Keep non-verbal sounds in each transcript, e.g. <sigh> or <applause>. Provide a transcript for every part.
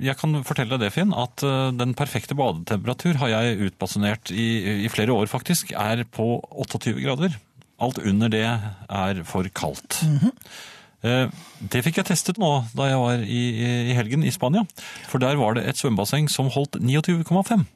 Jeg kan fortelle deg det, Finn, at eh, den perfekte badetemperatur har jeg utbasunert i, i flere år faktisk, er på 28 grader. Alt under det er for kaldt. Eh, Det fikk jeg testet nå da jeg var i, i- i helgen i Spania. For der var det et svømmebasseng som holdt 29,5.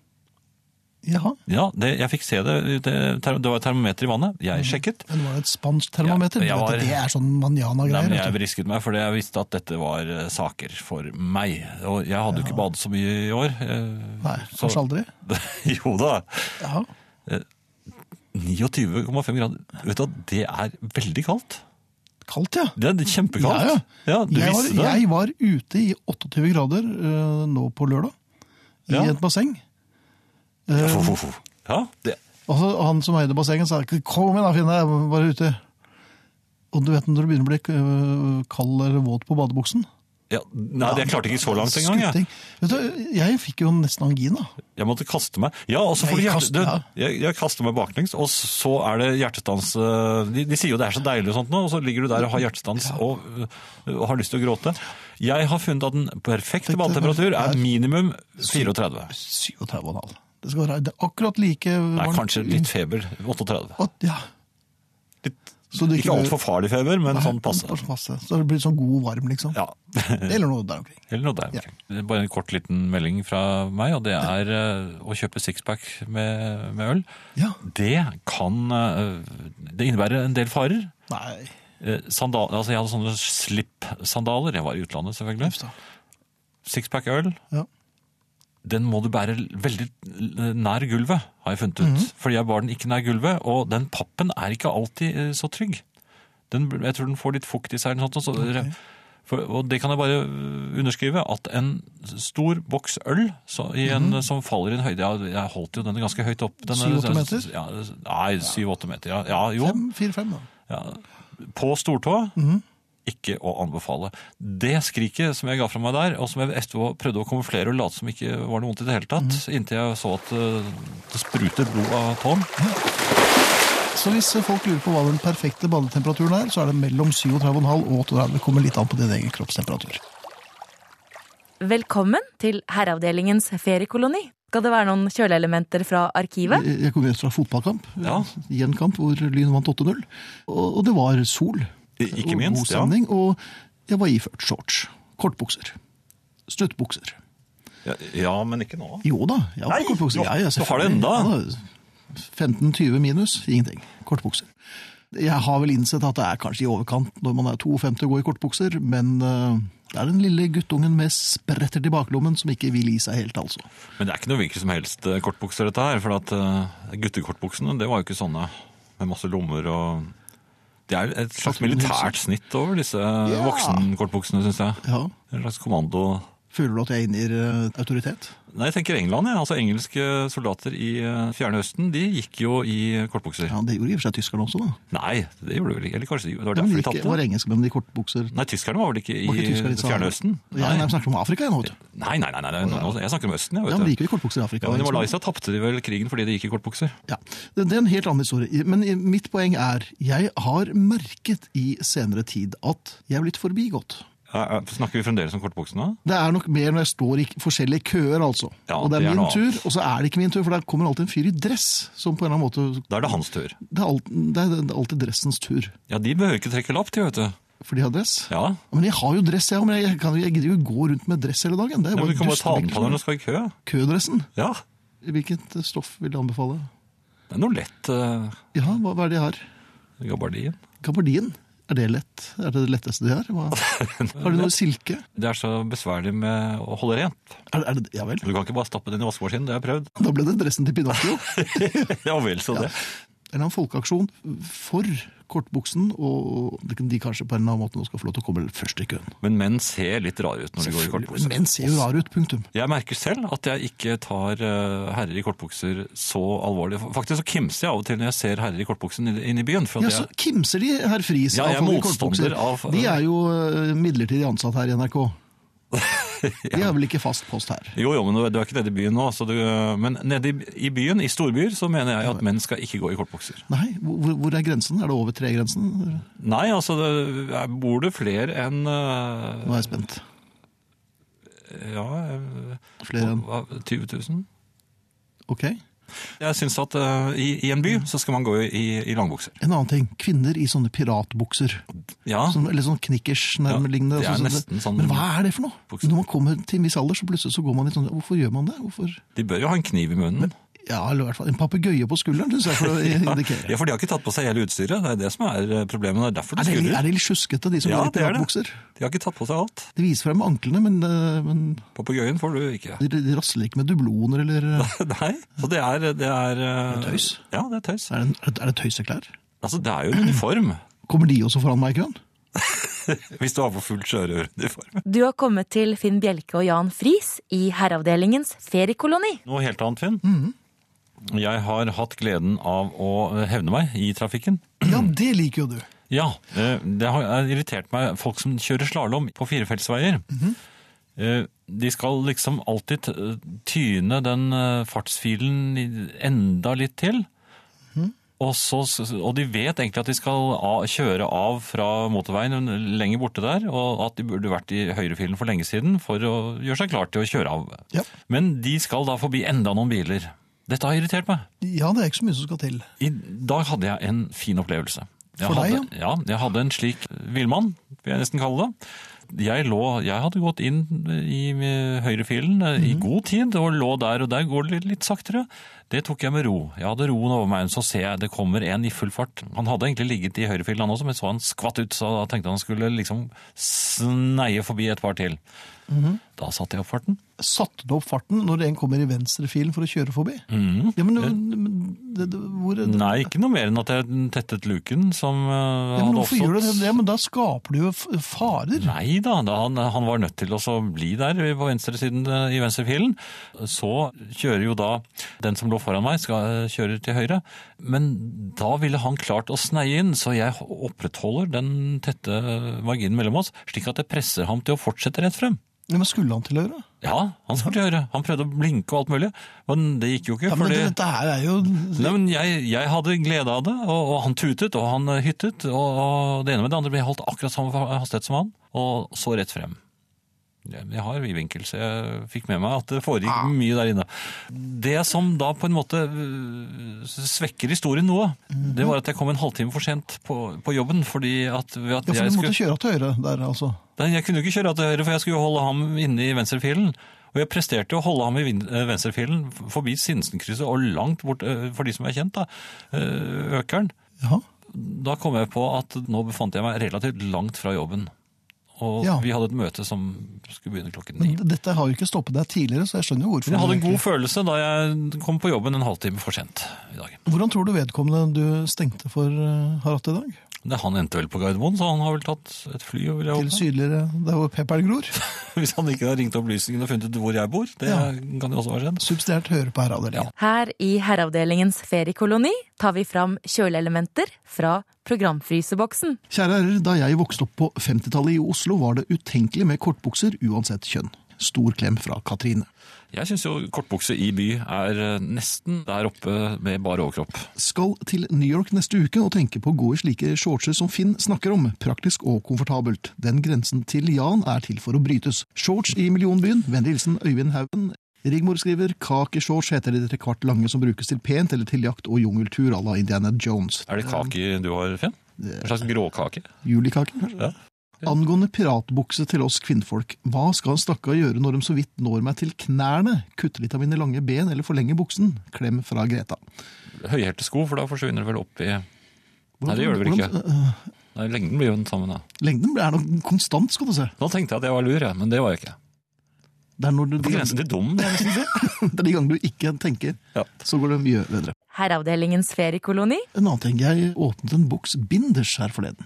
Jaha. Ja, det, jeg fikk se det. Det, ter- det var et termometer i vannet. Jeg sjekket. Men det var jo et spansk termometer. Ja, jeg Du vet at var- Det er sånn Nei, manjana-greier. men vet jeg du. vrisket meg, for jeg visste at dette var eh, saker for meg. Og jeg hadde jo ikke badet så mye i år. eh, <laughs> Nei, så- kanskje aldri. jo da. Ja. 29,5 grader. Vet du hva, det er veldig kaldt. Kaldt, ja. Det er kjempekaldt. Ja, du Jeg var, visste det. jeg var ute i 28 grader eh, nå på lørdag, i Ja. et basseng. Eh, Ja, fo, fo, fo. Ja, det. og så han som eide bassenget sa, kom igjen da, Finn, jeg var bare ute. Og du vet når du begynner å bli eh, kald eller våt på badebuksen. Ja, nei, jeg klarte ikke så langt engang. Jeg. Skutting. Vet du, jeg fikk jo nesten angina. jeg måtte kaste meg. Ja, og så får du Jeg hjerte... kaster- Du, ja. jeg, jeg kaster meg baklengs, og så er det hjertestans... eh, De, de sier jo det er så deilig og sånt nå, og så ligger du der og har hjertestans og, eh, og har lyst til å gråte. Jeg har funnet at den perfekte Perfekte badetemperatur er- er minimum 34. 37,5. Det skal være det er akkurat like varmt. Nei, kanskje litt feber. 38. At- Ja. Litt, Så det ikke altfor farlig feber, men sånn passe. Bare sånn passe. Så det blir sånn god varm, liksom. Ja. Eller noe der omkring. Eller noe der. Ja. omkring. Det er Bare en kort liten melding fra meg, og det er eh, å kjøpe sixpack med, med øl. Ja. Det kan eh, Det innebærer en del farer. Nei, Eh, Sandal, altså jeg hadde sånne slip-sandaler. Jeg var i utlandet, selvfølgelig. uff da. Sixpack øl. Ja. Den må du bære veldig nær gulvet, har jeg funnet ut. Fordi jeg bar den ikke nær gulvet, og den pappen er ikke alltid eh, så trygg. Den, jeg tror den får litt fukt i seg, eller noe sånt. og Så, for, og det kan jeg bare eh, underskrive, at en stor boks øl så, i en, som faller i en høyde Jeg, jeg holdt jo denne ganske høyt opp. denne- 7-8 meter? Ja, nei, syv-åtte meter. Ja, ja jo. Fem, fire-fem, da. Ja. På stortå, ikke å anbefale. Det skriket som jeg ga fra meg der, og som jeg etterpå prøvde å kamuflere og late som ikke var noe vondt i det hele tatt, inntil jeg så at eh, det spruter blod av tåen. Så hvis folk lurer på hva den perfekte badetemperaturen er, så er det mellom 37,5 og 38. Det kommer litt an på din egen kroppstemperatur. Velkommen til Herreavdelingens feriekoloni. Skal det være noen kjøleelementer fra arkivet? Jeg jeg kom rett fra fotballkamp, Ja. i en kamp hvor Lyn vant 8-0. Og og det var sol. I- ikke Og minst, God ja. stemning, og jeg var iført shorts. Kortbukser. Struttbukser. Ja, ja, men ikke nå. Jo da, jeg var Nei, på kortbukser. du- Ja, ja, du har det selvfølgelig. enda. Ja, 15-20 minus, ingenting. Kortbukser. Jeg har vel innsett at det er kanskje i overkant når man er 52 og går i kortbukser, men eh, det er den lille guttungen med spretter til baklommen som ikke vil gi seg helt, altså. Men det er ikke noe hvilken som helst eh, kortbukser dette her, for at eh, guttekortbuksene, det var jo ikke sånne med masse lommer og det er et slags militært snitt over disse eh, voksenkortbuksene, synes jeg. Ja. En slags kommando... Føler du at jeg inngir eh, autoritet? Nei, jeg tenker England, ja. altså Engelske soldater i eh, fjerne østen, de gikk jo i kortbukser. Ja, Det gjorde i og for seg tyskerne også, da. Nei, det gjorde de vel ikke. Eller kanskje de, det var Ja, men derfor de de ikke, tapte. var engelskmennene i kortbukser Nei, tyskerne var vel ikke i Var ikke tyskerne i fjerne østen? Ja, nei, Vi snakker om Afrika igjen, vet du. Nei, nei, nei, nei, nei, nå- nå- jeg snakker om østen, jeg, Ja, men de vet du. gikk jo i kortbukser i Afrika. Ja, men I engelskmennene. Malaysia tapte de vel krigen fordi de gikk i kortbukser. Ja, det, det er en helt annen historie. Men i- mitt poeng er, jeg har merket i senere tid at jeg er blitt forbigått. Ja, ja, Eh, Snakker vi fremdeles om kortbuksene? Det er nok mer når jeg står i forskjellige køer, altså. Ja, og det er, det er min noe tur, annet. og så er det ikke min tur, for der kommer alltid en fyr i dress, som på en eller annen måte, Da er det hans tur. det er alltid, det er alltid dressens tur. Ja, de behøver ikke trekke lapp, de, vet du. For de har dress. Ja, Men jeg har jo dress, jeg, men jeg, kan, jeg gidder jo ikke gå rundt med dress hele dagen. Det er Nei, jo men Du kan bare ta den på dustebekk som- når du skal i kø. Kødressen? Ja, Hvilket stoff vil du anbefale? det er noe lett. eh, Ja, hva, hva er det jeg har? Gabardin. Gabardin, er det lett? Er det det letteste de har? <laughs> Hva? Har de noe silke? Det er så besværlig med å holde rent. Er, det- er det, ja vel, Du kan ikke bare stappe den i vaskemaskinen, det har jeg prøvd. da ble det dressen til <laughs> Pinocchio. Ja vel, så det. En eller annen folkeaksjon for kortbuksen, og de kanskje på en eller annen måte nå skal få lov til å komme først i køen. Men menn ser litt rare ut når de går i Men kortbukser. menn ser jo rare ut, punktum. Jeg merker selv at jeg ikke tar eh, herrer i kortbukser så alvorlig. Faktisk så kimser jeg av og til når jeg ser herrer i kortbuksen inn- inne i byen. For Ja, at så jeg, kimser de herr Friis Ja, av jeg er folk i motstander kortbukser. av- De er jo eh, midlertidig ansatt her i NRK. <laughs> De har vel ikke fast post her. jo, jo, men du du er ikke nede i byen nå. Så du, men nede i, i byen, i storbyer, så mener jeg at menn skal ikke gå i kortbukser. Nei, hvor, hvor er grensen? Er det over tre-grensen? Nei, altså det, er- bor det flere enn eh, Nå er jeg spent. Ja eh, Flere enn hva- 20 000? Ok. En Jeg syns at eh, i, i en by så skal man gå i, i langbukser. annen ting. Kvinner i sånne piratbukser. Ja, Sånn, eller sånn knickers nærmeliggende. Ah. Ja, det er sånn- nesten sånn- Men hva er det for noe? Bukser. Når man kommer til en viss alder, så plutselig så går man i sånn Hvorfor gjør man det? Hvorfor? de bør jo ha en kniv i munnen. Ja, eller i hvert fall en papegøye på skulderen, syns jeg, for å indikere. <laughs> Ja, for de har ikke tatt på seg hele utstyret. Det er det som er eh, problemet. Det er derfor Er de det, litt- er skurrer. det litt sjuskete, de som Ja, går i det er det. piratbukser? De har ikke tatt på seg alt. De viser frem anklene, men, eh, men Papegøyen får du ikke. <laughs> de, de rasler ikke med dubloner, eller eh, Nei, så det er Det er, eh, Det er tøys. Ja, det er tøys. er det, en- er det tøyseklær? Altså, det er jo en uniform. <clears throat> Kommer de også foran meg i køen? Hvis du har på fullt sjørøveruniform. Du har kommet til Finn Bjelke og Jan Friis i Herreavdelingens feriekoloni. Noe helt annet, Finn. Mhm. Jeg har hatt gleden av å eh, hevne meg i trafikken. Ja, det liker jo du. Ja, eh, det har irritert meg folk som kjører slalom på firefeltsveier. Eh, De skal liksom alltid eh, tyne den eh, fartsfilen i- enda litt til. Og, så, og de vet egentlig at de skal a- kjøre av fra motorveien lenger borte der, og at de burde vært i høyrefilen for lenge siden for å gjøre seg klar til å kjøre av. Ja. Men de skal da forbi enda noen biler. Dette har irritert meg. Ja, det er ikke så mye som skal til. I dag hadde jeg en fin opplevelse. Jeg For deg, hadde, ja? jeg hadde en slik villmann, vil jeg nesten kalle det. Jeg, lå, jeg hadde gått inn i høyrefilen eh, Mhm. i god tid, og lå der, og der går det litt, litt saktere. Det tok jeg med ro. Jeg hadde roen over meg, så ser jeg det kommer en i full fart. Han hadde egentlig ligget i høyrefilen han også, men så han skvatt ut, så da tenkte han skulle liksom sneie forbi et par til. Mhm. Da satte jeg opp farten. Satte du opp farten når en kommer i venstrefilen for å kjøre forbi? Ja, men, men det, det, hvor, Mhm. Nei, ikke noe mer enn at jeg tettet luken som eh, ja, men hadde hvorfor gjør du det? oppstått. Ja, men da skaper du jo f- farer. Nei da, da han, han var nødt til å så bli der på venstresiden eh, i venstrefilen. Så kjører jo da den som lå foran meg, skal, eh, kjører til høyre. Men da ville han klart å sneie inn, så jeg opprettholder den tette eh, marginen mellom oss, slik at jeg presser ham til å fortsette rett frem. Ja, men skulle han til å gjøre? Ja, han skulle til høyre. Han prøvde å blinke og alt mulig, men det gikk jo ikke. Ja, men fordi... det, dette her er jo Nei, men jeg, jeg hadde glede av det, og, og han tutet, og han eh, hyttet, og, og det ene med det andre ble holdt akkurat samme fa- hastighet som han, og så rett frem. Jeg jeg har vidvinkel, så jeg fikk med meg at det foregikk Ah. mye der inne. Det som da på en måte øh, svekker historien noe, Mhm. det var at jeg kom en halvtime for sent på, på jobben, fordi at, ved at Ja, for jeg du måtte skulle... kjøre til høyre der, altså. Nei, jeg kunne jo ikke kjøre til høyre, for jeg skulle jo holde ham inne i venstrefilen. Og jeg presterte å holde ham i vin- eh, venstrefilen forbi Sinsenkrysset og langt bort, eh, for de som er kjent, da, eh, Økeren. Ja. Da kom jeg på at nå befant jeg meg relativt langt fra jobben. Og Ja. vi hadde et møte som skulle begynne klokken Men ni. d- dette har jo ikke stoppet deg tidligere, så jeg skjønner jo hvorfor. Mm. Jeg hadde en du god egentlig- følelse da jeg kom på jobben en halvtime for sent i dag. Hvordan tror du vedkommende du stengte for, eh, har hatt i dag? Det han endte vel på Gardermoen, så han har vel tatt et fly. Vil jeg Til håpe. sydligere der hvor pepperen gror. <laughs> Hvis han ikke har ringt opplysningene og funnet ut hvor jeg bor, det Ja. kan jo også ha skjedd. Subsidiært høre på herreavdelingen. Her i Herreavdelingens feriekoloni tar vi fram kjøleelementer fra programfryseboksen. Kjære herrer, da jeg vokste opp på 50-tallet i Oslo, var det utenkelig med kortbukser uansett kjønn. Stor klem fra Katrine. Jeg syns jo kortbukse i by er eh, nesten der oppe med bar overkropp. Skal til New York neste uke og tenke på å gå i slike shortser som Finn snakker om. Praktisk og komfortabelt. Den grensen til Jan er til for å brytes. Shorts i millionbyen. Vennlig hilsen Øyvind Haugen. Rigmor skriver kakeshorts heter de trekvart lange som brukes til pent eller til jakt og jungeltur à la Indiana Jones. Er det kake du har, Finn? En slags gråkake? Julikaken, kanskje? Ja. Angående piratbukse til oss kvinnfolk, hva skal en stakkar gjøre når de så vidt når meg til knærne? Kutte litt av mine lange ben eller forlenge buksen? Klem fra Greta. Høyhælte sko, for da forsvinner det vel opp i Nei, det gjør det vel ikke. Hvordan- øh, Nei, Lengden blir jo den samme, da. Lengden er nok konstant, skal du se. Nå tenkte jeg at jeg var lur, jeg, men det var jeg <laughs> ikke. Det er, når du, På grensen til dum. jeg vil si. <laughs> det er de gangene du ikke tenker, Ja. så går det mye bedre. Herreavdelingens feriekoloni. En annen ting, jeg åpnet en boks binders her forleden.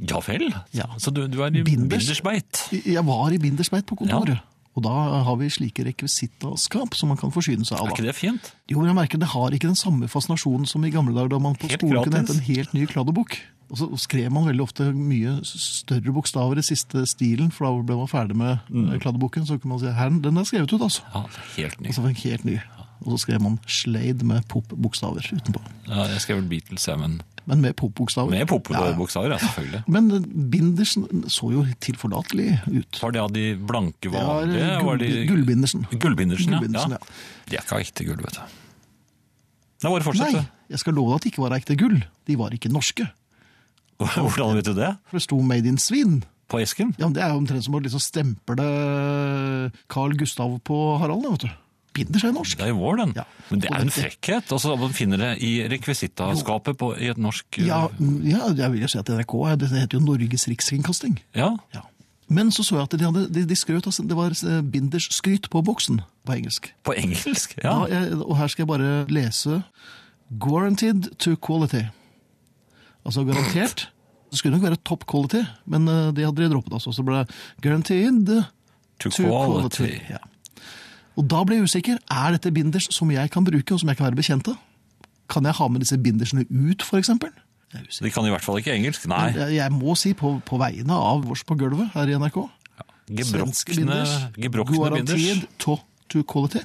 ja vel? Ja. Så du, du er i Binders. bindersbeit? Jeg var i bindersbeit på kontoret. Og da har vi slike rekvisittaskap som man kan forsyne seg av. Er da. ikke det fint? Jo, men jeg merker det har ikke den samme fascinasjonen som i gamle dager da man på Helt skolen kunne gratis. hente en helt ny kladdebok. Og så skrev man veldig ofte mye større bokstaver i siste stilen, for da Mm. ble man ferdig med eh, kladdeboken. Så kunne man si her, den er skrevet ut, altså. Ja, helt ny. Og så fikk jeg helt ny. Og så skrev man Slade med pop-bokstaver utenpå. Ja, jeg skrev vel Beatles, jeg, men Men med pop-bokstaver. med Ja, ja. popolårbokstaver, ja, selvfølgelig. Men eh, Bindersen så jo tilforlatelig ut. Var det av de blanke Det var eh, vanlige? var de... Gull- Gullbindersen. Gullbindersen, ja. Gullbindersen, ja. ja. De er ikke av ekte gull, vet du. Nei, bare Nei, fortsett. jeg skal love deg at det ikke var ekte gull. De var ikke norske. <laughs> Hvordan vet du det? For det sto Made in Svin. På esken? Ja, men Det er jo omtrent som å liksom stemple Carl Gustav på Harald. da, vet du. Binder seg norsk. Det er jo vår, den. Ja. Men det Og er den- en frekkhet. Altså, man finner det i rekvisittaskapet på, i et norsk eh, Ja, ja, jeg vil jo si at NRK er- det heter jo Norges rikskringkasting. ja. Ja. Men så så jeg at de, hadde, de, de skrøt, altså, det var eh, binders skryt på boksen på engelsk. På engelsk? Ja. Da, jeg, og her skal jeg bare lese Guaranteed to quality. Altså garantert. Det skulle nok være top quality, men eh, det hadde de droppet. Altså. Så ble det guaranteed To to quality. quality. Ja. Og da ble jeg usikker. Er dette binders som jeg kan bruke, og som jeg kan være bekjent av? Kan jeg ha med disse bindersene ut, for eksempel? Jeg er usikker. De kan i hvert fall ikke engelsk. Nei. Jeg, jeg må si, på, på vegne av vårs på gulvet her i NRK Gebrokkne gebrokkne Guaranteed binders. to, to quality.